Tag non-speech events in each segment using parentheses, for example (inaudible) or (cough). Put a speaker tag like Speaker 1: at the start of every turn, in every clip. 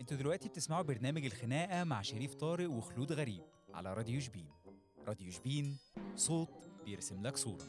Speaker 1: انتوا دلوقتي بتسمعوا برنامج الخناقة مع شريف طارق وخلود غريب على راديو شبين راديو شبين صوت بيرسم لك صورة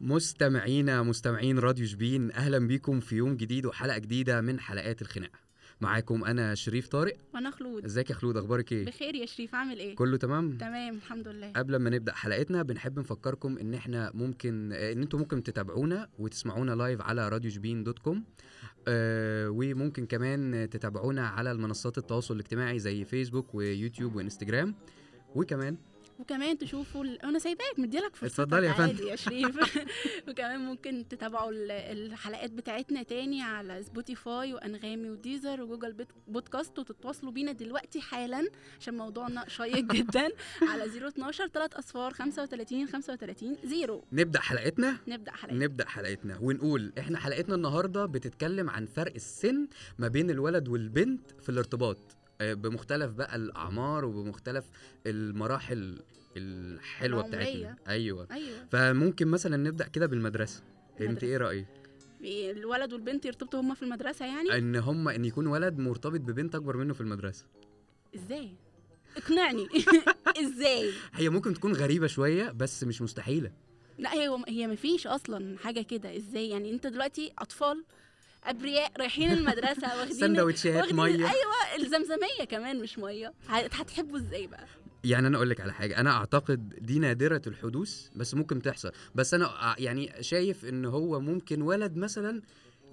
Speaker 2: مستمعينا مستمعين راديو شبين اهلا بيكم في يوم جديد وحلقه جديده من حلقات الخناقه معاكم انا شريف طارق
Speaker 3: وانا خلود
Speaker 2: ازيك يا خلود اخبارك ايه
Speaker 3: بخير يا شريف عامل ايه
Speaker 2: كله تمام
Speaker 3: تمام الحمد لله
Speaker 2: قبل ما نبدا حلقتنا بنحب نفكركم ان احنا ممكن ان انتم ممكن تتابعونا وتسمعونا لايف على راديو شبين دوت كوم آه، وممكن كمان تتابعونا على المنصات التواصل الاجتماعي زي فيسبوك ويوتيوب وانستجرام وكمان
Speaker 3: وكمان تشوفوا ال... انا سايباك مديلك فرصتك
Speaker 2: اتفضل يا فندم.
Speaker 3: عادي يا
Speaker 2: (laughs)
Speaker 3: شريف (laughs) وكمان ممكن تتابعوا ال- الحلقات بتاعتنا تاني على سبوتيفاي وانغامي وديزر وجوجل بيت... بودكاست وتتواصلوا بينا دلوقتي حالا عشان موضوعنا شيق
Speaker 2: (laughs)
Speaker 3: جدا على 012 3 اصفار 35 35 0
Speaker 2: نبدا حلقتنا
Speaker 3: نبدا حلقتنا
Speaker 2: نبدا حلقتنا ونقول احنا حلقتنا النهارده بتتكلم عن فرق السن ما بين الولد والبنت في الارتباط آه، بمختلف بقى الاعمار وبمختلف المراحل الحلوه
Speaker 3: العمرية.
Speaker 2: بتاعتنا ايوه
Speaker 3: ايوه
Speaker 2: فممكن مثلا نبدا كده بالمدرسه انت
Speaker 3: المدرسة.
Speaker 2: ايه رايك
Speaker 3: الولد والبنت يرتبطوا هما في المدرسه يعني
Speaker 2: ان هم ان يكون ولد مرتبط ببنت اكبر منه في المدرسه
Speaker 3: ازاي اقنعني (laughs) ازاي
Speaker 2: هي ممكن تكون غريبه شويه بس مش مستحيله
Speaker 3: لا هي هي مفيش اصلا حاجه كده ازاي يعني انت دلوقتي اطفال ابرياء رايحين
Speaker 2: (laughs)
Speaker 3: المدرسه واخدين
Speaker 2: سندوتشات
Speaker 3: واخدين-
Speaker 2: ميه
Speaker 3: ايوه الزمزميه كمان مش ميه هت- هتحبوا ازاي بقى
Speaker 2: يعني انا اقول لك على حاجه انا اعتقد دي نادره الحدوث بس ممكن تحصل بس انا أع- يعني شايف ان هو ممكن ولد مثلا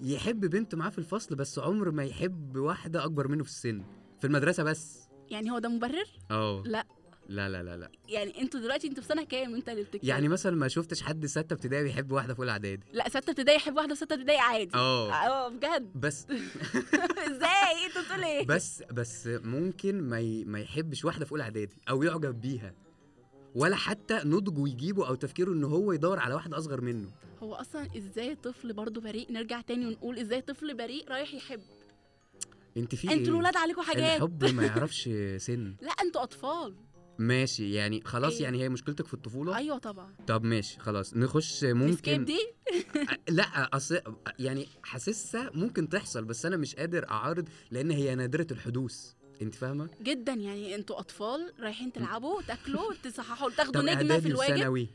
Speaker 2: يحب بنت معاه في الفصل بس عمر ما يحب واحده اكبر منه في السن في المدرسه بس
Speaker 3: يعني هو ده مبرر
Speaker 2: اه
Speaker 3: لا.
Speaker 2: لا لا لا لا
Speaker 3: يعني انتوا دلوقتي انتوا في سنه كام انت اللي بتتكلم
Speaker 2: يعني مثلا ما شفتش حد سته ابتدائي بيحب واحده في اولى اعدادي
Speaker 3: لا سته ابتدائي يحب واحده سته ابتدائي عادي
Speaker 2: اه
Speaker 3: اه بجد (laughs)
Speaker 2: بس
Speaker 3: ازاي انتوا بتقول ايه
Speaker 2: بس بس ممكن ما ي... ما يحبش واحده في اولى اعدادي او يعجب بيها ولا حتى نضجه يجيبه او تفكيره ان هو يدور على واحد اصغر منه
Speaker 3: هو اصلا ازاي طفل برضه بريء نرجع تاني ونقول ازاي طفل بريء رايح يحب
Speaker 2: انت في
Speaker 3: انتوا
Speaker 2: إيه؟
Speaker 3: الولاد عليكم حاجات
Speaker 2: الحب ما يعرفش سن
Speaker 3: لا انتوا اطفال
Speaker 2: ماشي يعني خلاص
Speaker 3: أيوة.
Speaker 2: يعني هي مشكلتك في الطفوله
Speaker 3: ايوه طبعا
Speaker 2: طب ماشي خلاص نخش
Speaker 3: ممكن
Speaker 2: ممكن
Speaker 3: دي
Speaker 2: لا اصل يعني حاسسها ممكن تحصل بس انا مش قادر اعارض لان هي نادره الحدوث انت فاهمه
Speaker 3: جدا يعني انتوا اطفال رايحين تلعبوا تاكلوا تصححوا
Speaker 2: طب
Speaker 3: تاخدوا نجمه في
Speaker 2: اعدادي
Speaker 3: الواجب
Speaker 2: وثانوي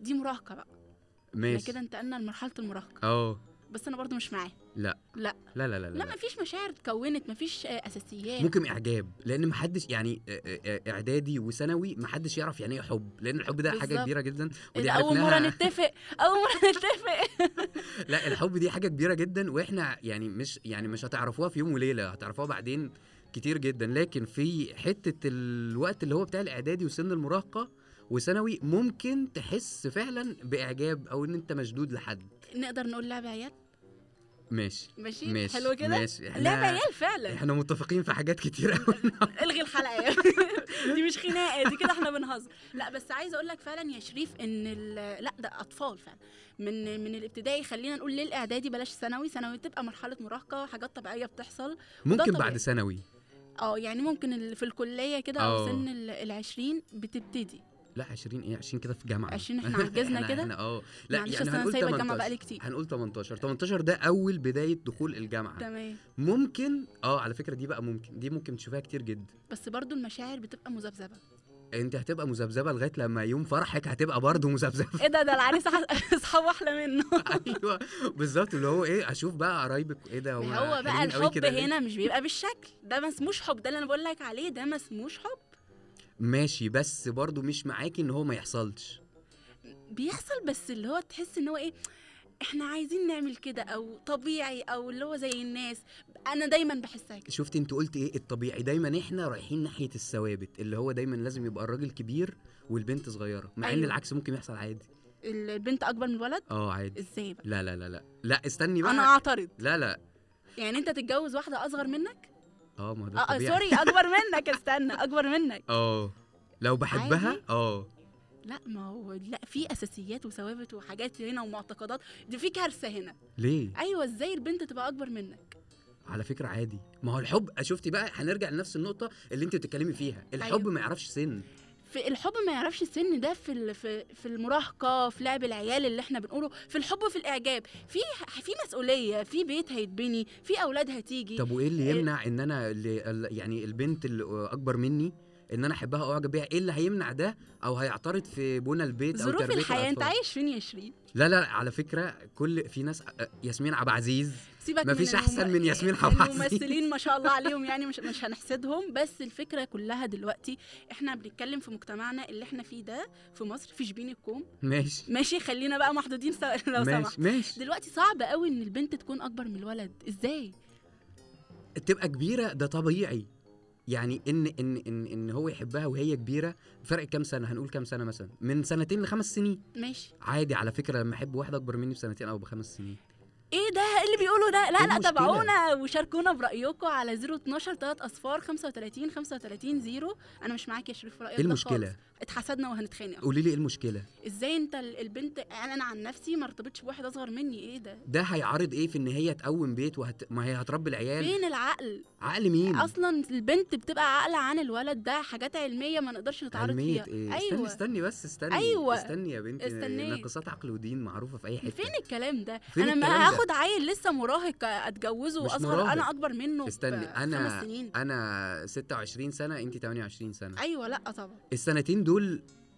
Speaker 3: دي مراهقه بقى احنا
Speaker 2: ماشي
Speaker 3: كده انتقلنا لمرحله المراهقه
Speaker 2: اه
Speaker 3: بس انا برضو مش معاه
Speaker 2: لا لا لا لا,
Speaker 3: لا
Speaker 2: لا.
Speaker 3: مفيش مشاعر اتكونت مفيش آه، اساسيات
Speaker 2: ممكن اعجاب لان محدش يعني آه، آه، آه، اعدادي وثانوي محدش يعرف يعني ايه حب لان الحب ده حاجه
Speaker 3: بالظبط.
Speaker 2: كبيره جدا
Speaker 3: إيه
Speaker 2: ودي
Speaker 3: ده، اول
Speaker 2: عرفناها-
Speaker 3: مره نتفق اول مره نتفق (laughs)
Speaker 2: لا الحب دي حاجه كبيره جدا واحنا يعني مش يعني مش هتعرفوها في يوم وليله هتعرفوها بعدين كتير جدا لكن في حته الوقت اللي هو بتاع الاعدادي وسن المراهقه وثانوي ممكن تحس فعلا باعجاب او ان انت مشدود لحد
Speaker 3: نقدر نقول لعب عيال
Speaker 2: ماشي
Speaker 3: ماشي,
Speaker 2: ماشي
Speaker 3: حلو كده
Speaker 2: ماشي
Speaker 3: لعب
Speaker 2: احنا
Speaker 3: عيال فعلا
Speaker 2: احنا متفقين في حاجات كتير
Speaker 3: (laughs)
Speaker 2: قوي
Speaker 3: الغي الحلقه دي مش خناقه دي كده احنا بنهزر لا بس عايزه اقول لك فعلا يا شريف ان ال- لا ده اطفال فعلا من من الابتدائي خلينا نقول للاعدادي بلاش ثانوي ثانوي تبقى مرحله مراهقه حاجات طبيعيه بتحصل
Speaker 2: ممكن
Speaker 3: طبيعي.
Speaker 2: بعد ثانوي
Speaker 3: اه يعني ممكن ال- في الكليه كده او
Speaker 2: آه.
Speaker 3: سن ال- العشرين بتبتدي
Speaker 2: لا 20 ايه 20 كده في جامعه
Speaker 3: 20 احنا عجزنا
Speaker 2: إحنا-
Speaker 3: كده؟
Speaker 2: إحنا اه لا
Speaker 3: معلش
Speaker 2: يعني
Speaker 3: اصل انا
Speaker 2: هنقول
Speaker 3: سايبه الجامعه
Speaker 2: 18
Speaker 3: بقالي كتير
Speaker 2: هنقول 18 18 ده اول بدايه دخول الجامعه
Speaker 3: تمام
Speaker 2: ممكن اه على فكره دي بقى ممكن دي ممكن تشوفها كتير جدا
Speaker 3: بس برضو المشاعر بتبقى مذبذبه
Speaker 2: انت هتبقى مذبذبه لغايه لما يوم فرحك هتبقى برضه (laughs) مذبذبه
Speaker 3: ايه ده ده العريس ح- اصحابه احلى منه
Speaker 2: ايوه بالظبط اللي هو ايه اشوف بقى قرايبك ايه ده هما
Speaker 3: هو بقى
Speaker 2: حلوين قوي
Speaker 3: الحب
Speaker 2: كده ليه؟
Speaker 3: هنا مش بيبقى بالشكل ده ما اسموش حب ده اللي انا بقول لك عليه ده ما اسموش حب
Speaker 2: ماشي بس برضه مش معاكي ان هو ما يحصلش
Speaker 3: بيحصل بس اللي هو تحس ان هو ايه احنا عايزين نعمل كده او طبيعي او اللي هو زي الناس انا دايما بحسها كده
Speaker 2: شفت انت قلت ايه الطبيعي دايما احنا رايحين ناحيه الثوابت اللي هو دايما لازم يبقى الراجل كبير والبنت صغيره مع ان
Speaker 3: أيوة.
Speaker 2: العكس ممكن يحصل عادي
Speaker 3: البنت اكبر من الولد
Speaker 2: اه عادي
Speaker 3: ازاي بقى
Speaker 2: لا لا لا لا لا استني بقى
Speaker 3: انا اعترض
Speaker 2: لا لا
Speaker 3: يعني انت تتجوز واحده اصغر منك
Speaker 2: اه ما هو
Speaker 3: اه
Speaker 2: ده
Speaker 3: آه،
Speaker 2: الطبيعي
Speaker 3: سوري اكبر منك استنى اكبر منك
Speaker 2: اه لو بحبها
Speaker 3: عادي.
Speaker 2: اه
Speaker 3: لا ما هو لا في اساسيات وثوابت وحاجات هنا ومعتقدات دي في كارثه هنا
Speaker 2: ليه
Speaker 3: ايوه ازاي البنت تبقى اكبر منك
Speaker 2: على فكره عادي ما هو الحب شفتي بقى هنرجع لنفس النقطه اللي انت بتتكلمي فيها الحب
Speaker 3: أيوة.
Speaker 2: ما يعرفش سن
Speaker 3: في الحب ما يعرفش السن ده في ال- في في المراهقه في لعب العيال اللي احنا بنقوله في الحب في الاعجاب في في مسؤوليه في بيت هيتبني في اولاد هتيجي
Speaker 2: طب وايه اللي
Speaker 3: إيه-
Speaker 2: يمنع ان انا اللي ال- يعني البنت اللي اكبر مني ان انا احبها او اعجب بيها ايه اللي هيمنع ده او هيعترض في بنى البيت او
Speaker 3: ظروف
Speaker 2: تربيه
Speaker 3: الحياه انت
Speaker 2: الأطفال؟
Speaker 3: عايش فين يا شيرين
Speaker 2: لا لا على فكره كل في ناس أ- ياسمين عبد العزيز
Speaker 3: سيبك
Speaker 2: مفيش
Speaker 3: من
Speaker 2: أحسن من ياسمين عبد العزيز.
Speaker 3: الممثلين ما شاء الله عليهم يعني مش مش هنحسدهم بس الفكره كلها دلوقتي احنا بنتكلم في مجتمعنا اللي احنا فيه ده في مصر في شبين الكوم
Speaker 2: ماشي
Speaker 3: ماشي خلينا بقى محدودين سوا- (laughs) لو سمحت
Speaker 2: ماشي ماشي
Speaker 3: دلوقتي صعب قوي ان البنت تكون اكبر من الولد ازاي
Speaker 2: تبقى كبيره ده طبيعي يعني ان ان ان ان هو يحبها وهي كبيره فرق كام سنه هنقول كام سنه مثلا من سنتين لخمس سنين
Speaker 3: ماشي
Speaker 2: عادي على فكره لما احب واحده اكبر مني بسنتين او بخمس سنين
Speaker 3: ايه ده إيه اللي بيقولوا ده لا
Speaker 2: إيه
Speaker 3: لا
Speaker 2: المشكلة؟
Speaker 3: تابعونا وشاركونا برايكم على 012 3 اصفار 35 35 0 انا مش معاك يا شريف في رايك
Speaker 2: ايه
Speaker 3: ده
Speaker 2: المشكله
Speaker 3: خالص. اتحسدنا وهنتخانق أهو.
Speaker 2: قولي لي ايه المشكله
Speaker 3: ازاي انت ال- البنت انا أنا عن نفسي ما ارتبطش بواحد اصغر مني ايه ده
Speaker 2: ده هيعارض ايه في ان هي تقوم بيت وهت... ما هي هتربي العيال
Speaker 3: فين العقل
Speaker 2: عقل مين
Speaker 3: اصلا البنت بتبقى عاقله عن الولد ده حاجات علميه ما نقدرش نتعارض
Speaker 2: علمية
Speaker 3: فيها
Speaker 2: ايه استني
Speaker 3: ايوه
Speaker 2: استني بس استني
Speaker 3: أيوة.
Speaker 2: استني يا بنتي
Speaker 3: استني.
Speaker 2: ناقصات عقل ودين معروفه في اي حته
Speaker 3: إيه فين الكلام ده
Speaker 2: فين
Speaker 3: انا ما
Speaker 2: الكلام ده؟
Speaker 3: هاخد عيل لسه مراهق اتجوزه
Speaker 2: مش
Speaker 3: واصغر
Speaker 2: مراهق.
Speaker 3: انا اكبر منه
Speaker 2: استني،
Speaker 3: ب-
Speaker 2: أنا-
Speaker 3: خمس سنين
Speaker 2: انا 26 سنه انت 28 سنه
Speaker 3: ايوه لا طبعا
Speaker 2: السنتين دول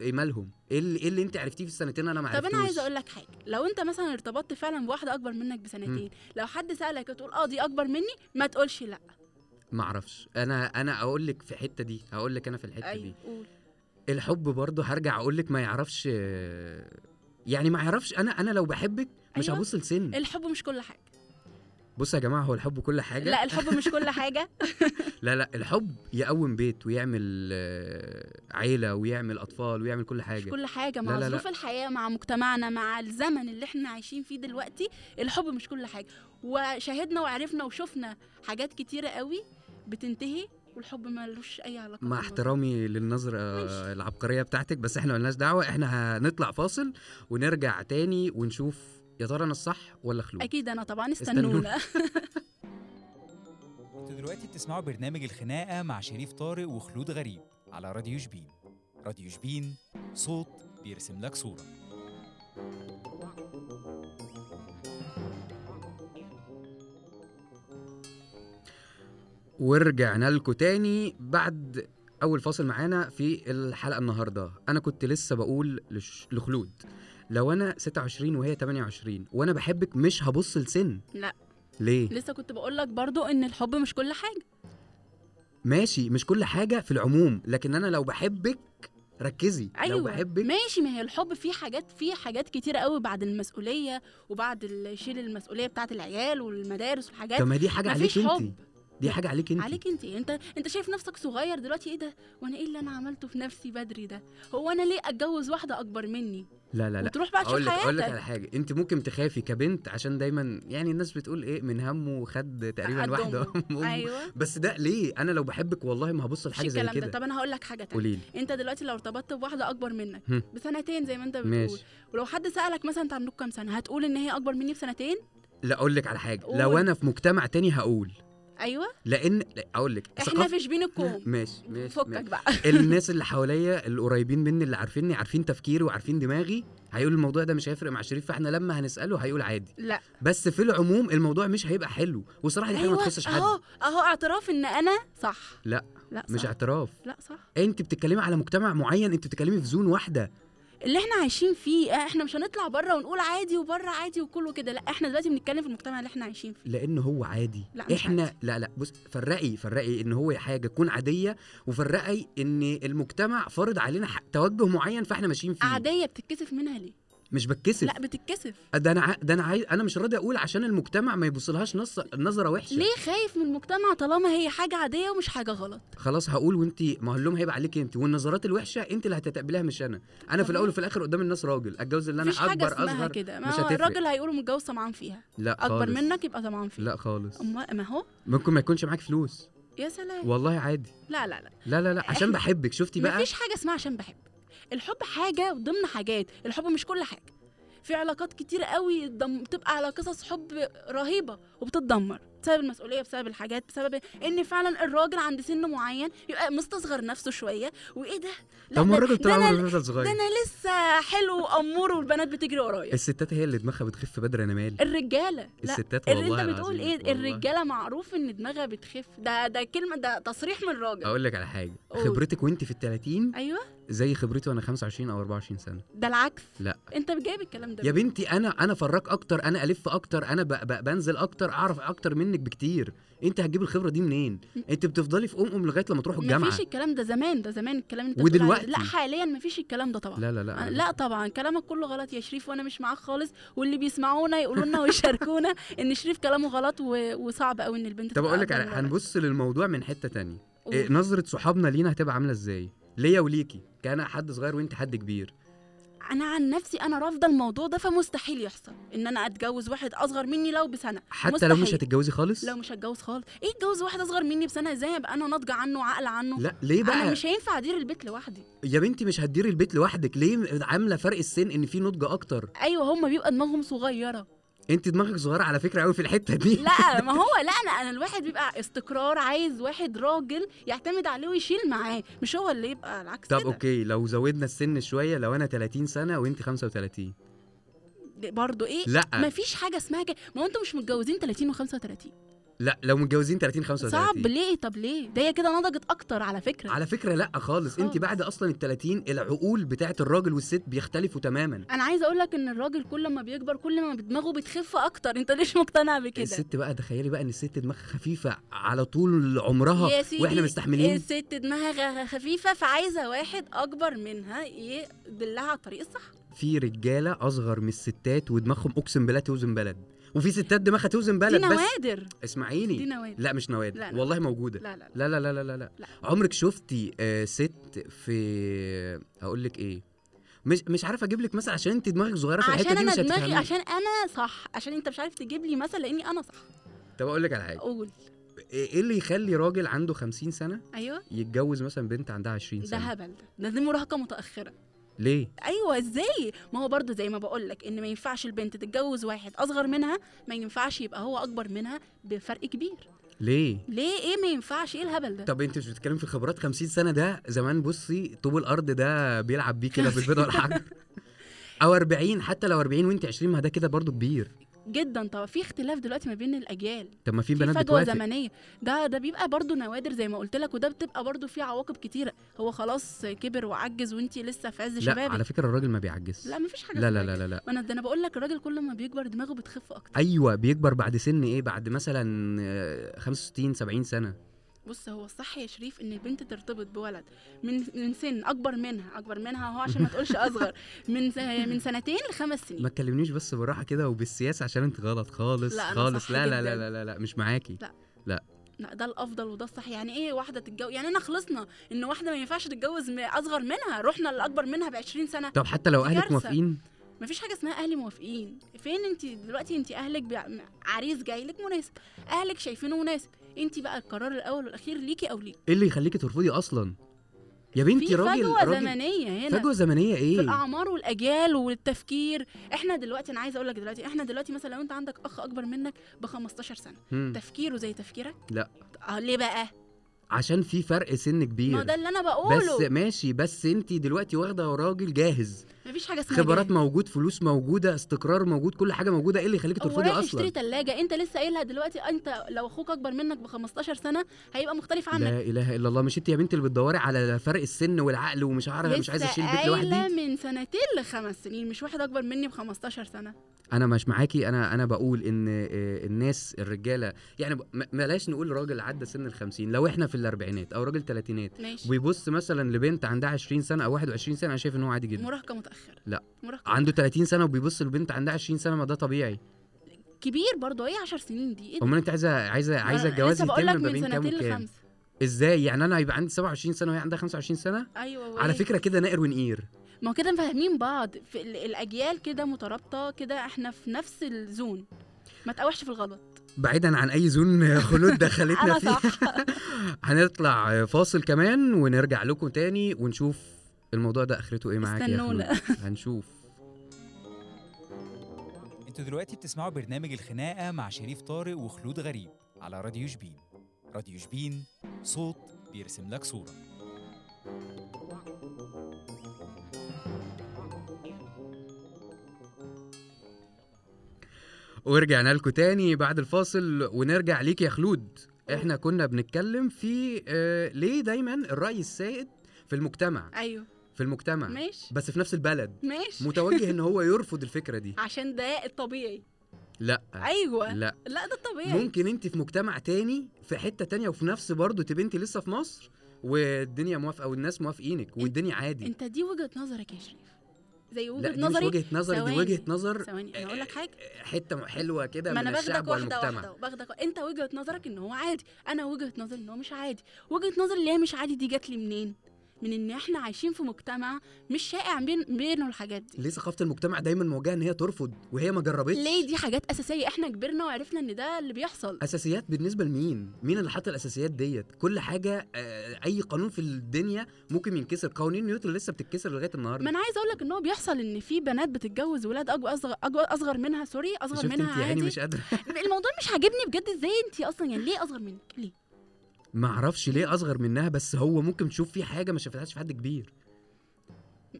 Speaker 2: ايه مالهم ايه اللي, إيه اللي انت عرفتيه في السنتين انا ما
Speaker 3: طب
Speaker 2: عرفتوش
Speaker 3: انا عايزه اقول لك حاجه لو انت مثلا ارتبطت فعلا بواحده اكبر منك بسنتين لو حد سالك وتقول اه دي اكبر مني ما تقولش لا
Speaker 2: ما اعرفش انا انا اقول لك في الحته دي هقول لك انا في الحته
Speaker 3: ايوه
Speaker 2: دي
Speaker 3: قول
Speaker 2: الحب برضه هرجع اقول لك ما يعرفش يعني ما يعرفش انا انا لو بحبك مش
Speaker 3: أيوة.
Speaker 2: هبص لسن
Speaker 3: الحب مش كل حاجه
Speaker 2: بص يا جماعه هو الحب كل حاجه
Speaker 3: لا الحب مش
Speaker 2: (laughs)
Speaker 3: كل حاجه
Speaker 2: لا لا الحب يقوم بيت ويعمل آه، عيله ويعمل اطفال ويعمل كل
Speaker 3: مش
Speaker 2: حاجه
Speaker 3: كل حاجه
Speaker 2: لا،
Speaker 3: مع
Speaker 2: لا، لا.
Speaker 3: ظروف الحياه مع مجتمعنا مع الزمن اللي احنا عايشين فيه دلوقتي الحب مش كل حاجه وشاهدنا وعرفنا وشفنا حاجات كتيره قوي بتنتهي والحب ملوش اي علاقه
Speaker 2: مع
Speaker 3: بالموضوع.
Speaker 2: احترامي للنظرة آه،
Speaker 3: ماشي.
Speaker 2: العبقرية بتاعتك بس احنا ملناش دعوة احنا هنطلع فاصل ونرجع تاني ونشوف يا ترى انا الصح ولا خلود
Speaker 3: اكيد انا طبعا
Speaker 2: استنونا.
Speaker 3: استنونا (laughs)
Speaker 1: انتوا دلوقتي بتسمعوا برنامج الخناقة مع شريف طارق وخلود غريب على راديو شبين راديو شبين صوت بيرسم لك صورة
Speaker 2: ورجعنا لكم تاني بعد اول فاصل معانا في الحلقه النهارده انا كنت لسه بقول لش... لخلود لو انا 26 وهي 28 وانا بحبك مش هبص لسن
Speaker 3: لا.
Speaker 2: ليه
Speaker 3: لسه كنت بقول لك برضو ان الحب مش كل حاجه
Speaker 2: ماشي مش كل حاجه في العموم لكن انا لو بحبك ركزي
Speaker 3: ايوه
Speaker 2: لو بحبك
Speaker 3: ماشي ما هي الحب فيه حاجات فيه حاجات كتيره قوي بعد المسؤوليه وبعد ال- شيل المسؤوليه بتاعه العيال والمدارس والحاجات
Speaker 2: طب ما دي حاجه عليك
Speaker 3: مفيش
Speaker 2: انت
Speaker 3: حب.
Speaker 2: دي حاجه عليك انت
Speaker 3: عليك انت انت انت شايف نفسك صغير دلوقتي ايه ده وانا ايه اللي انا عملته في نفسي بدري ده هو انا ليه اتجوز واحده اكبر مني
Speaker 2: لا لا لا
Speaker 3: وتروح بقى
Speaker 2: اقول
Speaker 3: تشوف
Speaker 2: لك اقول لك
Speaker 3: حياتك
Speaker 2: على حاجه انت ممكن تخافي كبنت عشان دايما يعني الناس بتقول ايه من همه خد تقريبا
Speaker 3: قد
Speaker 2: واحده
Speaker 3: أمه.
Speaker 2: أم أمه.
Speaker 3: ايوه
Speaker 2: بس ده ليه انا لو بحبك والله ما هبص
Speaker 3: مش
Speaker 2: لحاجه زي
Speaker 3: الكلام ده
Speaker 2: كده
Speaker 3: طب انا هقول لك حاجه تانية
Speaker 2: قولي لي
Speaker 3: انت دلوقتي لو ارتبطت بواحده اكبر منك
Speaker 2: هم.
Speaker 3: بسنتين زي ما انت بتقول
Speaker 2: ماشي
Speaker 3: ولو حد سالك مثلا انت عندك كام سنه هتقول ان هي اكبر مني بسنتين
Speaker 2: لا اقول لك على حاجه
Speaker 3: قول.
Speaker 2: لو انا في مجتمع تاني هقول
Speaker 3: ايوه
Speaker 2: لان لا، اقول لك
Speaker 3: احنا في شبين الكوم
Speaker 2: ماشي (laughs) ماشي,
Speaker 3: فكك
Speaker 2: ماشي.
Speaker 3: بقى
Speaker 2: الناس اللي حواليا القريبين مني اللي عارفيني عارفين تفكيري وعارفين دماغي هيقول الموضوع ده مش هيفرق مع شريف فاحنا لما هنساله هيقول عادي
Speaker 3: لا
Speaker 2: بس في العموم الموضوع مش هيبقى حلو وصراحه دي حاجه ما تخصش حد
Speaker 3: اهو اهو أيوة، اعتراف ان انا صح
Speaker 2: لا،
Speaker 3: لا آه، صح.
Speaker 2: مش اعتراف
Speaker 3: لا صح
Speaker 2: انت بتتكلمي على مجتمع معين انت بتتكلمي في زون واحده
Speaker 3: اللي احنا عايشين فيه احنا مش هنطلع بره ونقول عادي وبره عادي وكله كده لا احنا دلوقتي بنتكلم في المجتمع اللي احنا عايشين فيه
Speaker 2: لان هو عادي
Speaker 3: لا، مش
Speaker 2: احنا
Speaker 3: عادي.
Speaker 2: لا لا بص فرقي فرقي ان هو حاجه تكون عاديه وفرقي ان المجتمع فرض علينا ح- توجه معين فاحنا ماشيين فيه
Speaker 3: عاديه بتتكسف منها ليه
Speaker 2: مش بتكسف
Speaker 3: لا بتتكسف
Speaker 2: ده انا ع- ده انا عايز انا مش راضي اقول عشان المجتمع ما يبصلهاش نص نظره وحشه
Speaker 3: ليه خايف من المجتمع طالما هي حاجه عاديه ومش حاجه غلط
Speaker 2: خلاص هقول وانت ما هو اللوم هيبقى عليكي انت والنظرات الوحشه انت اللي هتتقبليها مش انا انا في
Speaker 3: طبيعي.
Speaker 2: الاول وفي الاخر قدام الناس راجل اتجوز اللي انا
Speaker 3: مفيش حاجه
Speaker 2: اكبر
Speaker 3: اسمها
Speaker 2: اصغر
Speaker 3: كده
Speaker 2: مش
Speaker 3: ما هو
Speaker 2: هتفرق.
Speaker 3: الراجل هيقولوا متجوز طمعان فيها
Speaker 2: لا
Speaker 3: اكبر
Speaker 2: خالص.
Speaker 3: منك يبقى طمعان فيها
Speaker 2: لا خالص
Speaker 3: أما- ما هو
Speaker 2: ممكن ما يكونش معاك فلوس
Speaker 3: يا سلام
Speaker 2: والله عادي
Speaker 3: لا لا لا
Speaker 2: لا لا لا عشان
Speaker 3: إحنا-
Speaker 2: بحبك شفتي بقى
Speaker 3: إيه؟ مفيش حاجه اسمها عشان بحب الحب حاجه ضمن حاجات الحب مش كل حاجه في علاقات كتير قوي اتدم- بتبقى على قصص حب رهيبه وبتتدمر بسبب المسؤوليه بسبب الحاجات بسبب ان فعلا الراجل عند سن معين يبقى مستصغر نفسه شويه وايه ده لا
Speaker 2: طب ما
Speaker 3: ده-
Speaker 2: الراجل
Speaker 3: ده
Speaker 2: طلع
Speaker 3: أنا-
Speaker 2: عمره بيفضل
Speaker 3: ده
Speaker 2: صغير
Speaker 3: انا لسه حلو وامور والبنات بتجري ورايا
Speaker 2: الستات هي اللي دماغها بتخف بدري انا مالي
Speaker 3: الرجاله لا
Speaker 2: الستات
Speaker 3: اللي
Speaker 2: والله
Speaker 3: انت بتقول
Speaker 2: العظيم،
Speaker 3: ايه
Speaker 2: والله.
Speaker 3: الرجاله معروف ان دماغها بتخف ده ده كلمه ده تصريح من الراجل
Speaker 2: اقول لك على حاجه
Speaker 3: قول.
Speaker 2: خبرتك وانت في ال 30
Speaker 3: ايوه
Speaker 2: زي خبرتي وانا 25 او 24 سنه
Speaker 3: ده العكس
Speaker 2: لا.
Speaker 3: انت جايب الكلام ده
Speaker 2: يا
Speaker 3: منين؟
Speaker 2: بنتي انا انا فراك اكتر انا الف اكتر انا ب... ب... بنزل اكتر اعرف اكتر منك بكتير انت هتجيب الخبره دي منين انت بتفضلي في ام ام لغايه لما تروحوا الجامعه
Speaker 3: مفيش الكلام ده زمان ده زمان الكلام اللي انت بتقول عليه ده. لا
Speaker 2: ودلوقتي؟
Speaker 3: حاليا مفيش الكلام ده طبعا
Speaker 2: لا لا لا
Speaker 3: أنا- لا طبعا كلامك كله غلط يا شريف وانا مش معاك خالص واللي بيسمعونا يقولوا لنا
Speaker 2: (laughs)
Speaker 3: ويشاركونا ان شريف كلامه غلط و... وصعب قوي ان البنت
Speaker 2: طب
Speaker 3: تبقى
Speaker 2: اقول لك على
Speaker 3: قدام الولد.
Speaker 2: هنبص للموضوع من حته تانية
Speaker 3: قول.
Speaker 2: إيه نظره صحابنا لينا هتبقى عامله ازاي ليا وليكي كان حد صغير وانت حد كبير
Speaker 3: انا عن نفسي انا رافضه الموضوع ده فمستحيل يحصل ان انا اتجوز واحد اصغر مني لو بسنه
Speaker 2: حتى لو مش
Speaker 3: مستحيل.
Speaker 2: هتتجوزي خالص
Speaker 3: لو مش هتجوز خالص ايه اتجوز واحد اصغر مني بسنه ازاي ابقى انا ناضجه عنه وعاقله عنه
Speaker 2: لا ليه
Speaker 3: انا
Speaker 2: بقى
Speaker 3: مش هينفع ادير البيت لوحدي
Speaker 2: يا بنتي مش هتديري البيت لوحدك ليه عامله فرق السن ان في نضج اكتر
Speaker 3: ايوه هما بيبقى دماغهم صغيره
Speaker 2: انت دماغك صغيره على فكره قوي في الحته دي
Speaker 3: لا ما هو لا انا انا الواحد بيبقى استقرار عايز واحد راجل يعتمد عليه ويشيل معاه مش هو اللي يبقى العكس
Speaker 2: طب
Speaker 3: كده.
Speaker 2: اوكي لو زودنا السن شويه لو انا 30 سنه وانت 35
Speaker 3: برضه ايه
Speaker 2: لا
Speaker 3: مفيش حاجه اسمها كده ما هو انتوا مش متجوزين 30 و35
Speaker 2: لا لو متجوزين 30 35
Speaker 3: صعب ليه طب ليه ده هي كده نضجت اكتر على فكره
Speaker 2: على فكره لا خالص انت
Speaker 3: خالص.
Speaker 2: بعد اصلا ال 30 العقول بتاعت الراجل والست بيختلفوا تماما
Speaker 3: انا عايزه اقول لك ان الراجل كل ما بيكبر كل ما دماغه بتخف اكتر انت ليش مقتنع بكده
Speaker 2: الست بقى تخيلي بقى ان الست دماغها خفيفه على طول عمرها
Speaker 3: يا
Speaker 2: اه،
Speaker 3: سيدي
Speaker 2: واحنا مستحملين
Speaker 3: الست دماغها خفيفه فعايزه واحد اكبر منها يدلها على الطريق الصح
Speaker 2: في رجاله اصغر من الستات ودماغهم اقسم بالله توزن بلد وفي ستات دماغها توزن
Speaker 3: دي
Speaker 2: بلد بس
Speaker 3: نوادر دي
Speaker 2: اسمعيني
Speaker 3: نوادر
Speaker 2: لا مش نوادر
Speaker 3: لا، لا.
Speaker 2: والله موجوده
Speaker 3: لا لا لا
Speaker 2: لا لا لا لا لا, لا.
Speaker 3: لا.
Speaker 2: عمرك شفتي آه ست في هقول لك ايه مش مش عارف اجيب لك مثل عشان انت دماغك صغيره في
Speaker 3: عشان
Speaker 2: الحته دي
Speaker 3: انا
Speaker 2: مش
Speaker 3: دماغي
Speaker 2: هتفهمي
Speaker 3: عشان انا صح عشان انت مش عارف تجيب لي مثل لاني انا صح
Speaker 2: طب اقول لك على حاجه
Speaker 3: قول
Speaker 2: ايه اللي يخلي راجل عنده 50 سنه
Speaker 3: ايوه
Speaker 2: يتجوز مثلا بنت عندها 20
Speaker 3: ده
Speaker 2: سنه
Speaker 3: هبل ده ده دي مراهقه متاخره
Speaker 2: ليه
Speaker 3: ايوه ازاي ما هو برضه زي ما بقول لك ان ما ينفعش البنت تتجوز واحد اصغر منها ما ينفعش يبقى هو اكبر منها بفرق كبير
Speaker 2: ليه
Speaker 3: ليه ايه ما ينفعش ايه الهبل ده
Speaker 2: طب انت مش بتتكلم في خبرات 50 سنه ده زمان بصي طوب الارض ده بيلعب بيه كده في البيضه
Speaker 3: (laughs)
Speaker 2: والحجر او 40 حتى لو 40 وانت 20 ما ده كده برضو كبير
Speaker 3: جدا طبعا في اختلاف دلوقتي ما بين الاجيال
Speaker 2: طب ما في
Speaker 3: في
Speaker 2: بنات
Speaker 3: فجوه
Speaker 2: بتوافق
Speaker 3: زمنيه ده ده بيبقى برضه نوادر زي ما قلت لك وده بتبقى برضه فيه عواقب كتيره هو خلاص كبر وعجز وانت لسه في عز
Speaker 2: لا
Speaker 3: شبابك
Speaker 2: على فكره الراجل ما بيعجز
Speaker 3: لا مفيش حاجه
Speaker 2: لا
Speaker 3: اسمها
Speaker 2: لا لا
Speaker 3: كده.
Speaker 2: لا, لا.
Speaker 3: ما انا ده انا بقول لك الراجل كل ما بيكبر دماغه بتخف اكتر
Speaker 2: ايوه بيكبر بعد سن ايه بعد مثلا آه، 65 70 سنه
Speaker 3: بص هو الصح يا شريف ان البنت ترتبط بولد من من سن اكبر منها اكبر منها هو عشان ما تقولش (laughs) اصغر من س- من سنتين لخمس
Speaker 2: ما
Speaker 3: سنين
Speaker 2: تكلمنيش بس بالراحه كده وبالسياسه عشان انت غلط خالص
Speaker 3: لا، أنا
Speaker 2: خالص
Speaker 3: صح
Speaker 2: لا لا, لا
Speaker 3: جداً.
Speaker 2: لا لا لا مش معاكي
Speaker 3: لا ده الافضل وده الصح يعني ايه واحده تتجوز يعني انا خلصنا ان واحده ما ينفعش تتجوز م- اصغر منها رحنا لاكبر منها ب 20 سنه
Speaker 2: طب حتى لو
Speaker 3: دي
Speaker 2: اهلك
Speaker 3: كارثة.
Speaker 2: موافقين
Speaker 3: ما فيش حاجه اسمها اهلي موافقين فين انت دلوقتي انت اهلك بي... عريس جاي لك مناسب اهلك شايفينه مناسب انت بقى القرار الاول والاخير ليكي او ليه
Speaker 2: ايه اللي يخليكي ترفضي اصلا يا
Speaker 3: في
Speaker 2: بنتي راجل
Speaker 3: فجوه
Speaker 2: راجل
Speaker 3: زمنيه هنا
Speaker 2: فجوه زمنيه
Speaker 3: في
Speaker 2: ايه
Speaker 3: الاعمار والاجيال والتفكير احنا دلوقتي انا عايزه اقول لك دلوقتي احنا دلوقتي مثلا لو انت عندك اخ اكبر منك ب 15 سنه
Speaker 2: مم.
Speaker 3: تفكيره زي تفكيرك
Speaker 2: لا.
Speaker 3: اه ليه بقى
Speaker 2: عشان في فرق سن
Speaker 3: ما ده
Speaker 2: كبير
Speaker 3: اللي انا بقوله
Speaker 2: بس ماشي بس انت دلوقتي واخده راجل جاهز
Speaker 3: مفيش حاجه اسمها
Speaker 2: خبرات
Speaker 3: جاهز.
Speaker 2: موجود فلوس موجوده استقرار موجود كل حاجه موجوده ايه اللي يخليكي
Speaker 3: هو
Speaker 2: ترفضي
Speaker 3: رايح يشتري
Speaker 2: اصلا
Speaker 3: ثلاجه انت لسه قايلها دلوقتي انت لو اخوك اكبر منك ب 15 سنه هيبقى مختلف عنك
Speaker 2: لا اله الا الله مش انت يا بنتي اللي بتدوري على فرق السن والعقل ومش عارفه مش عايزه
Speaker 3: لسه
Speaker 2: اشيل البيت
Speaker 3: قايلة
Speaker 2: لوحدي
Speaker 3: من سنتين لخمس سنين مش واحد اكبر مني ب 15 سنه
Speaker 2: انا مش معاكي انا انا بقول ان آه، الناس الرجاله يعني ب- م- بلاش نقول راجل عدى سن ال 50 لو احنا في الاربعينات او راجل تلاتينات
Speaker 3: ماشي
Speaker 2: وبيبص مثلا لبنت عندها 20 سنه او 21 سنه انا شايف ان هو عادي جدا
Speaker 3: مراهقه متاخره
Speaker 2: لا.
Speaker 3: مراهقه
Speaker 2: عنده 30 سنه وبيبص لبنت عندها 20 سنه ما ده طبيعي
Speaker 3: كبير برضه ايه 10 سنين دي ايه ده؟
Speaker 2: امال انت عايزه عايزه عايزه
Speaker 3: أنا
Speaker 2: الجواز
Speaker 3: لسه بقول لك
Speaker 2: يتم ما
Speaker 3: من
Speaker 2: بين كام
Speaker 3: سنتين
Speaker 2: وكام
Speaker 3: لخمسه
Speaker 2: ازاي يعني انا هيبقى عندي 27 سنه وهي عندها 25 سنه
Speaker 3: ايوه وإيه؟
Speaker 2: على فكره كده نائر ونقير
Speaker 3: ما هو كده فاهمين بعض في ال- الاجيال كده مترابطه كده احنا في نفس الزون ما تقاوحش في الغلط
Speaker 2: بعيدا عن اي زون (laughs) خلود دخلتنا
Speaker 3: انا
Speaker 2: فيه
Speaker 3: صح
Speaker 2: (laughs) هنطلع فاصل كمان ونرجع لكم تاني ونشوف الموضوع ده اخرته ايه معاك يا خلود
Speaker 3: استنونا. (laughs)
Speaker 2: هنشوف
Speaker 1: انتوا دلوقتي بتسمعوا برنامج الخناقة مع شريف طارق وخلود غريب على راديو شبين راديو شبين صوت بيرسم لك صورة
Speaker 2: ورجعنا لكم تاني بعد الفاصل ونرجع ليك يا خلود احنا كنا بنتكلم في آه ليه دايما الرأي السائد في المجتمع
Speaker 3: ايوه
Speaker 2: في المجتمع
Speaker 3: ماشي
Speaker 2: بس في نفس البلد
Speaker 3: ماشي
Speaker 2: متوجه ان هو يرفض الفكرة دي
Speaker 3: عشان ده الطبيعي
Speaker 2: لا
Speaker 3: ايوه
Speaker 2: لا
Speaker 3: لا ده الطبيعي
Speaker 2: ممكن انت في مجتمع تاني في حتة تانية وفي نفس برضه تبقي انت لسه في مصر والدنيا موافقة والناس موافقينك والدنيا عادي
Speaker 3: انت دي وجهه نظرك يا شريف زي
Speaker 2: لا
Speaker 3: وجهه
Speaker 2: دي مش
Speaker 3: نظري
Speaker 2: وجهة نظر دي
Speaker 3: ثواني.
Speaker 2: وجهة نظر
Speaker 3: ثواني انا اقول لك حاجه
Speaker 2: حتة حلوة كده
Speaker 3: ما
Speaker 2: من
Speaker 3: انا باخدك
Speaker 2: الشعب
Speaker 3: واحده
Speaker 2: والمجتمع
Speaker 3: واحده باخدك انت وجهه نظرك ان هو عادي انا وجهه نظري ان هو مش عادي وجهه نظري اللي هي مش عادي دي جات لي منين من ان احنا عايشين في مجتمع مش شائع بين بينه الحاجات دي
Speaker 2: ليه ثقافة المجتمع دايما موجهة ان هي ترفض وهي ما جربتش
Speaker 3: ليه دي حاجات اساسيه احنا كبرنا وعرفنا ان ده اللي بيحصل
Speaker 2: اساسيات بالنسبه لمين مين اللي حط الاساسيات ديت كل حاجه آه، اي قانون في الدنيا ممكن ينكسر قوانين نيوتن لسه بتتكسر لغايه
Speaker 3: ما
Speaker 2: النهارده
Speaker 3: انا عايز اقول لك ان هو بيحصل ان في بنات بتتجوز ولاد أجو- اصغر أجو- اصغر منها سوري اصغر
Speaker 2: شفت انت
Speaker 3: منها
Speaker 2: يا عيني
Speaker 3: عادي
Speaker 2: يعني مش قادره
Speaker 3: الموضوع مش عاجبني بجد ازاي انت اصلا يعني ليه اصغر منك
Speaker 2: (laughs)
Speaker 3: ليه
Speaker 2: ما اعرفش ليه اصغر منها بس هو ممكن تشوف فيه حاجه ما شافتهاش في حد كبير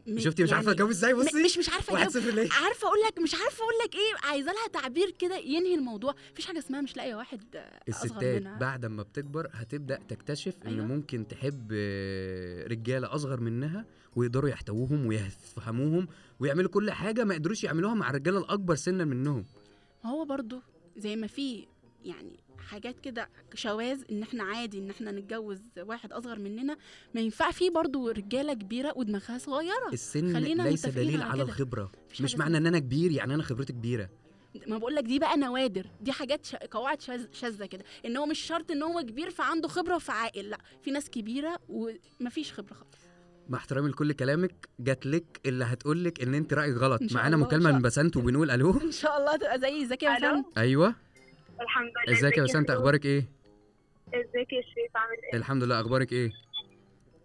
Speaker 3: م-
Speaker 2: شفتي مش عارفه
Speaker 3: يعني
Speaker 2: اتجوز ازاي
Speaker 3: م-
Speaker 2: بصي
Speaker 3: مش مش عارفه
Speaker 2: واحد
Speaker 3: أجاوب.
Speaker 2: صفر ليه
Speaker 3: عارفه اقول لك مش عارفه اقول لك ايه عايزه لها تعبير كده ينهي الموضوع مفيش حاجه اسمها مش لاقيه واحد آه، اصغر
Speaker 2: الستات
Speaker 3: منها
Speaker 2: بعد ما بتكبر هتبدا تكتشف ان
Speaker 3: أيوة.
Speaker 2: ممكن تحب آه، رجاله اصغر منها ويقدروا يحتووهم ويفهموهم ويعملوا كل حاجه ما قدروش يعملوها مع الرجاله الاكبر سنا منهم
Speaker 3: ما هو برضو زي ما في يعني حاجات كده شواذ ان احنا عادي ان احنا نتجوز واحد اصغر مننا ما ينفع في برضو رجاله كبيره ودماغها صغيره
Speaker 2: السن
Speaker 3: آه، خلينا
Speaker 2: ليس
Speaker 3: متفقين
Speaker 2: دليل
Speaker 3: على
Speaker 2: على
Speaker 3: كده.
Speaker 2: الخبره
Speaker 3: مفيش
Speaker 2: مش
Speaker 3: حاجة
Speaker 2: معنى ان انا كبير يعني انا خبرتي كبيره
Speaker 3: ما بقول لك دي بقى نوادر دي حاجات شا... قواعد شاذ- شاذه كده ان هو مش شرط ان هو كبير فعنده خبره فعاقل لا في ناس كبيره ومفيش خبره خالص (laughs)
Speaker 2: مع احترامي لكل كلامك جات لك اللي هتقول لك ان انت رايك غلط
Speaker 3: إن شاء
Speaker 2: معانا
Speaker 3: الله، إن
Speaker 2: مكالمه
Speaker 3: شاء-
Speaker 2: من بسنت وبنقول الو
Speaker 3: ان شاء الله تبقى زي زكي يا
Speaker 4: ألو؟
Speaker 3: فندم
Speaker 2: ايوه
Speaker 4: الحمد لله
Speaker 2: ازيك يا بسنت
Speaker 4: خلود؟
Speaker 2: اخبارك ايه
Speaker 4: ازيك يا شريف عامل ايه؟
Speaker 2: الحمد لله اخبارك ايه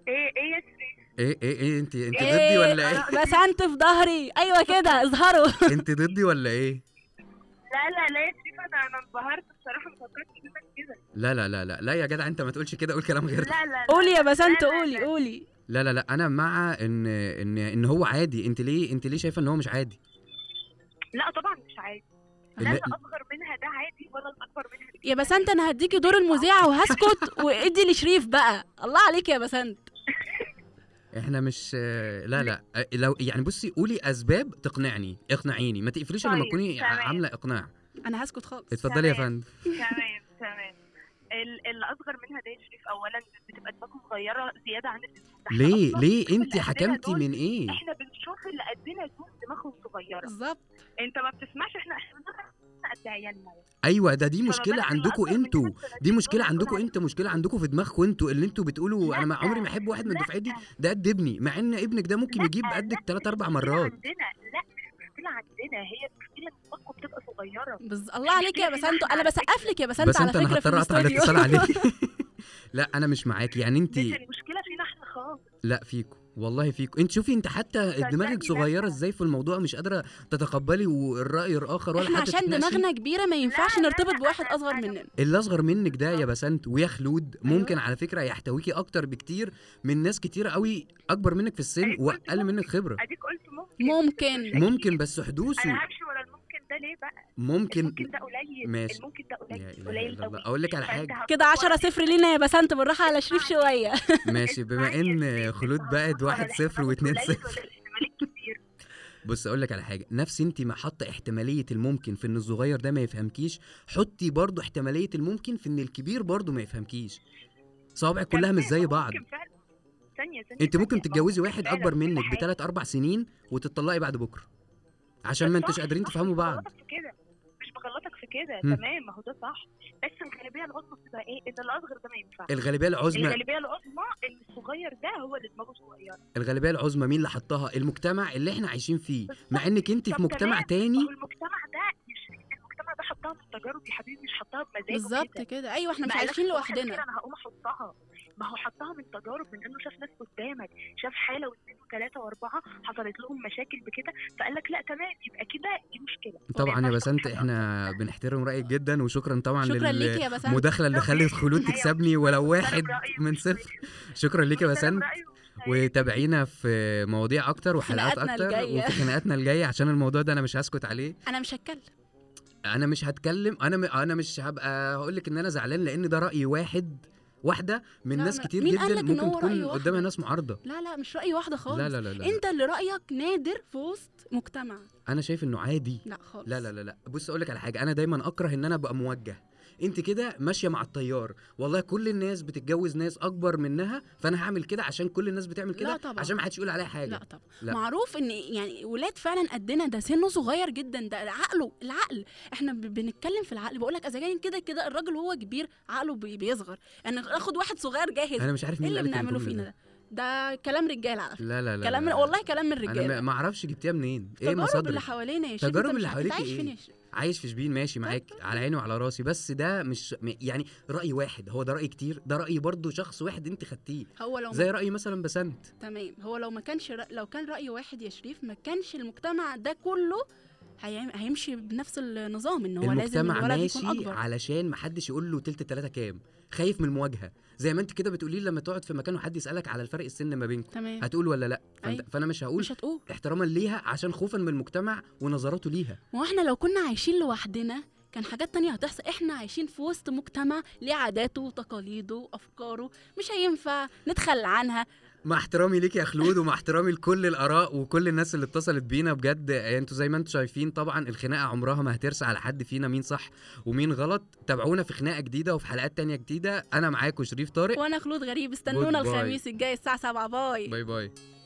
Speaker 4: ايه ايه يا شريف؟
Speaker 2: ايه ايه ايه انت انت ضدي ولا ايه
Speaker 3: إيه، أنا بسنت في ظهري ايوه كده اظهروا
Speaker 2: انت ضدي ولا ايه
Speaker 4: لا لا لا يا شريف انا انا انبهرت بصراحه ما فكرتش انك كده
Speaker 2: لا لا لا لا لا يا جدع انت ما تقولش كده قول كلام غير ده.
Speaker 4: لا لا
Speaker 3: قولي يا بسنت
Speaker 4: بسنت،
Speaker 3: قولي
Speaker 4: قولي،
Speaker 3: قولي
Speaker 2: لا لا لا انا مع ان ان ان هو عادي انت ليه انت ليه شايفه ان هو مش عادي
Speaker 4: لا طبعا مش عادي لا
Speaker 2: ال-
Speaker 4: الاصغر منها ده عادي ولا الاكبر منها
Speaker 3: يا بسنت انا هديكي دور المذيعه وهسكت وادي لشريف بقى الله عليك يا بسنت
Speaker 2: احنا مش لا لا لو يعني بصي قولي اسباب تقنعني اقنعيني ما تقفليش الا لما
Speaker 4: طيب،
Speaker 2: تكوني
Speaker 4: تمام.
Speaker 2: عامله اقناع
Speaker 3: انا هسكت خالص
Speaker 2: اتفضلي يا
Speaker 4: تمام.
Speaker 2: فندم
Speaker 4: تمام تمام ال- الاصغر منها ده يا شريف اولا بتبقى دماغهم صغيره زياده عن اللزوم ده احنا
Speaker 2: ليه
Speaker 4: أصلاً
Speaker 2: ليه انت
Speaker 4: اللي قدنا
Speaker 2: حكمتي
Speaker 4: دول-
Speaker 2: من ايه
Speaker 4: احنا بنشوف اللي قدنا دول دماغهم صغيره
Speaker 3: بالظبط
Speaker 4: انت ما بتسمعش احنا احنا بنعرف قد عيالنا
Speaker 2: ايوه ده دي
Speaker 4: فما
Speaker 2: مشكله
Speaker 4: بالك اللي
Speaker 2: عندكم
Speaker 4: أصغر مننا
Speaker 2: انتوا
Speaker 4: بثلاثين
Speaker 2: دي مشكله
Speaker 4: دول طيب. بنقول
Speaker 2: عندكم
Speaker 4: عليهم
Speaker 2: انت مشكله عندكم في دماغكم انتوا اللي انتوا بتقولوا انا ما
Speaker 4: لأ،
Speaker 2: عمري ما احب واحد من
Speaker 4: لأ،
Speaker 2: دفعتي ده قد ابني مع ان ابنك ده ممكن يجيب
Speaker 4: لأ،
Speaker 2: قدك
Speaker 4: لأ،
Speaker 2: ثلاث اربع
Speaker 4: المشكلة
Speaker 2: مرات
Speaker 4: عندنا لا مش مشكله عندنا هي مشكله ان دماغكم بتبقى صغيره
Speaker 3: بز... الله عليك يا بسنت انا بسقف لك يا بسنت
Speaker 2: بس
Speaker 3: على
Speaker 2: انت انا
Speaker 3: فكره في
Speaker 2: هضطر اقطع
Speaker 3: الاستوديو.
Speaker 2: الاتصال
Speaker 3: (laughs)
Speaker 2: عليك لا انا مش معاك يعني انت
Speaker 4: مش المشكله فينا احنا خالص
Speaker 2: لا فيكم والله فيكم انت شوفي انت حتى
Speaker 4: صدقني
Speaker 2: دماغك
Speaker 4: لا.
Speaker 2: صغيره ازاي في الموضوع مش قادره تتقبلي والراي الاخر ولا
Speaker 3: احنا
Speaker 2: حتى
Speaker 3: عشان
Speaker 2: تتناقشي.
Speaker 3: دماغنا كبيره ما ينفعش
Speaker 4: لا،
Speaker 3: نرتبط
Speaker 4: لا،
Speaker 3: بواحد
Speaker 4: أنا-
Speaker 3: اصغر
Speaker 4: أنا-
Speaker 3: مننا
Speaker 2: اللي اصغر منك ده يا بسنت ويا خلود
Speaker 3: أيوة.
Speaker 2: ممكن على فكره يحتويكي اكتر بكتير من ناس كتيره قوي اكبر منك في السن
Speaker 4: أيوة، أنت
Speaker 2: واقل منك خبره
Speaker 4: اديك قلت ممكن
Speaker 3: ممكن
Speaker 2: ممكن بس حدوثه
Speaker 4: انا همشي ورا الممكن ده ليه بقى
Speaker 2: ممكن
Speaker 4: الممكن ده قليل
Speaker 2: ماشي.
Speaker 4: الممكن ده
Speaker 2: يا
Speaker 4: قليل
Speaker 2: إله
Speaker 4: قليل
Speaker 2: إلا الله
Speaker 4: قوي
Speaker 2: اقول لك على
Speaker 4: فأنت
Speaker 2: حاجه
Speaker 4: هتدور-
Speaker 3: كده 10 صفر لينا يا بسنت بالراحه على شريف شويه
Speaker 2: ماشي بما
Speaker 4: اسمعي يا
Speaker 2: ان
Speaker 4: شريف،
Speaker 2: خلود
Speaker 4: أنت
Speaker 2: بقت
Speaker 4: هتدور على
Speaker 2: 1 0 و
Speaker 4: الاحتمالات
Speaker 2: 2
Speaker 4: قليل
Speaker 2: 0
Speaker 4: ولا الاحتمالات كتير؟
Speaker 2: بص اقول لك على حاجه نفس انت ما حاطه احتماليه الممكن في ان الصغير ده ما يفهمكيش حطي برضو احتماليه الممكن في ان الكبير برضو ما يفهمكيش صوابعك (laughs) كلها مش زي
Speaker 4: ممكن
Speaker 2: بعض
Speaker 4: فعلا. ثانية ثانية
Speaker 2: انت ممكن
Speaker 4: ثانية.
Speaker 2: تتجوزي واحد
Speaker 4: فعلا
Speaker 2: اكبر
Speaker 4: كل
Speaker 2: منك
Speaker 4: حاجة.
Speaker 2: بثلاث اربع سنين وتتطلقي بعد بكره عشان ما انتوش
Speaker 4: صح،
Speaker 2: قادرين
Speaker 4: صح،
Speaker 2: تفهموا
Speaker 4: مش
Speaker 2: بعض
Speaker 4: بغلطك في كده مش بغلطك في كده
Speaker 2: مم.
Speaker 4: تمام ما هو ده صح بس الغالبيه العظمى بتبقى ايه ان الاصغر ده ما ينفعش
Speaker 2: الغالبيه العظمى
Speaker 4: الغالبيه العظمى ان الصغير ده هو اللي دماغه صغيره
Speaker 2: الغالبيه العظمى مين اللي حطها المجتمع اللي احنا عايشين فيه مع انك انت
Speaker 4: طب
Speaker 2: في مجتمع
Speaker 4: تمام، ما
Speaker 2: تاني
Speaker 4: هو المجتمع ده مش المجتمع ده حطها من تجارب يا حبيبي مش حطها بمزاجه
Speaker 3: بالظبط
Speaker 4: كده.
Speaker 3: كده ايوه احنا مش
Speaker 4: ما قالكش
Speaker 3: عايشين
Speaker 4: صباح الخير
Speaker 3: لوحدنا
Speaker 4: انا هقوم احطها ما هو حطها من تجارب من انه شاف ناس قدامك شاف حاله واثنين وثلاثه واربعه حصلت لهم مشاكل بكده فقال لك لا تمام يبقى كده دي مشكله
Speaker 2: طبعا يا
Speaker 4: وبيبقى
Speaker 2: بسنت
Speaker 4: حاجة
Speaker 2: احنا بنحترم رايك جدا وشكرا طبعا
Speaker 3: شكرا ليك يا بسام
Speaker 2: المداخله اللي خلت خلود تكسبني ولو واحد
Speaker 4: محترم رأيه
Speaker 2: من
Speaker 4: مش
Speaker 2: صفر شكرا ليك يا
Speaker 4: محترم
Speaker 2: بسنت
Speaker 4: رأيه.
Speaker 2: وتابعينا في مواضيع اكتر وحلقات
Speaker 3: خناقاتنا
Speaker 2: اكتر
Speaker 3: الجاية.
Speaker 2: وفي خناقاتنا الجايه عشان الموضوع ده انا مش هسكت عليه
Speaker 3: انا مش هتكلم
Speaker 2: انا مش هتكلم انا م... انا مش هبقى هقول لك ان انا زعلان لان ده راي واحد واحده من
Speaker 3: لا،
Speaker 2: ناس
Speaker 3: لا.
Speaker 2: كتير
Speaker 3: مين قال
Speaker 2: جدا
Speaker 3: لك إن
Speaker 2: ممكن
Speaker 3: هو رأي
Speaker 2: تكون
Speaker 3: واحدة؟
Speaker 2: قدامها ناس معارضه
Speaker 3: لا لا مش راي واحده خالص
Speaker 2: لا لا لا لا
Speaker 3: انت اللي رايك نادر في وسط مجتمع
Speaker 2: انا شايف انه عادي
Speaker 3: لا خالص
Speaker 2: لا لا لا لا بص اقول لك على حاجه انا دايما اكره ان انا ابقى موجه انت كده ماشيه مع التيار والله كل الناس بتتجوز ناس اكبر منها فانا هعمل كده عشان كل الناس بتعمل
Speaker 3: لا
Speaker 2: كده
Speaker 3: طبعاً.
Speaker 2: عشان ما حدش يقول عليها حاجه
Speaker 3: لا طبعا
Speaker 2: لا.
Speaker 3: معروف ان يعني ولاد فعلا قدنا ده سنه صغير جدا ده عقله العقل احنا ب- بنتكلم في العقل بقول لك اذا كان كده كده الراجل وهو كبير عقله بي- بيصغر يعني ناخد واحد صغير جاهز
Speaker 2: انا مش عارف مين
Speaker 3: ايه اللي
Speaker 2: قال لك
Speaker 3: بنعمله
Speaker 2: الجملة دي.
Speaker 3: فينا ده ده كلام رجاله على فكره
Speaker 2: لا لا لا
Speaker 3: كلام
Speaker 2: لا.
Speaker 3: والله كلام من
Speaker 2: انا
Speaker 3: الرجاله
Speaker 2: ما اعرفش جبتيها منين ايه
Speaker 3: التجارب اللي
Speaker 2: مصادرك
Speaker 3: حوالينا يا شيخ
Speaker 2: تجارب
Speaker 3: أنت مش
Speaker 2: اللي
Speaker 3: عارف
Speaker 2: حواليك
Speaker 3: أنت عايش
Speaker 2: إيه؟
Speaker 3: فين يا شيخ
Speaker 2: عايش في شبين ماشي معاك
Speaker 3: طيب.
Speaker 2: على عيني وعلى راسي بس ده مش م- يعني راي واحد هو ده راي كتير ده راي برضه شخص واحد انت خدتيه
Speaker 3: هو لو
Speaker 2: زي راي مثلا بسنت
Speaker 3: تمام هو لو ما كانش رأ... لو كان رأي واحد يا شريف ما كانش المجتمع ده كله هيعم... هيمشي بنفس النظام ان هو لازم
Speaker 2: المجتمع
Speaker 3: الولد
Speaker 2: ماشي
Speaker 3: يكون اكبر
Speaker 2: علشان ما حدش يقول له تلت التلاته كام خايف من المواجهه زي ما انت كده بتقولي لي لما تقعد في مكان وحد يسالك على الفرق السن ما بينكم
Speaker 3: تمام
Speaker 2: هتقول ولا لا فأنت
Speaker 3: أيوة.
Speaker 2: فانا مش هقول
Speaker 3: مش هتقول
Speaker 2: احتراما ليها عشان خوفا من المجتمع ونظراته ليها
Speaker 3: ما هو احنا لو كنا عايشين لوحدنا كان حاجات تانية هتحصل احنا عايشين في وسط مجتمع ليه عاداته وتقاليده وافكاره مش هينفع نتخلى عنها
Speaker 2: مع احترامي ليك يا خلود ومع احترامي لكل الاراء وكل الناس اللي اتصلت بينا بجد آه، انتوا زي ما انتوا شايفين طبعا الخناقه عمرها ما هترسى على حد فينا مين صح ومين غلط تابعونا في خناقه جديده وفي حلقات تانية جديده انا معاكم شريف طارق
Speaker 3: وانا خلود غريب استنونا
Speaker 2: Goodbye.
Speaker 3: الخميس الجاي الساعة 7 باي
Speaker 2: باي باي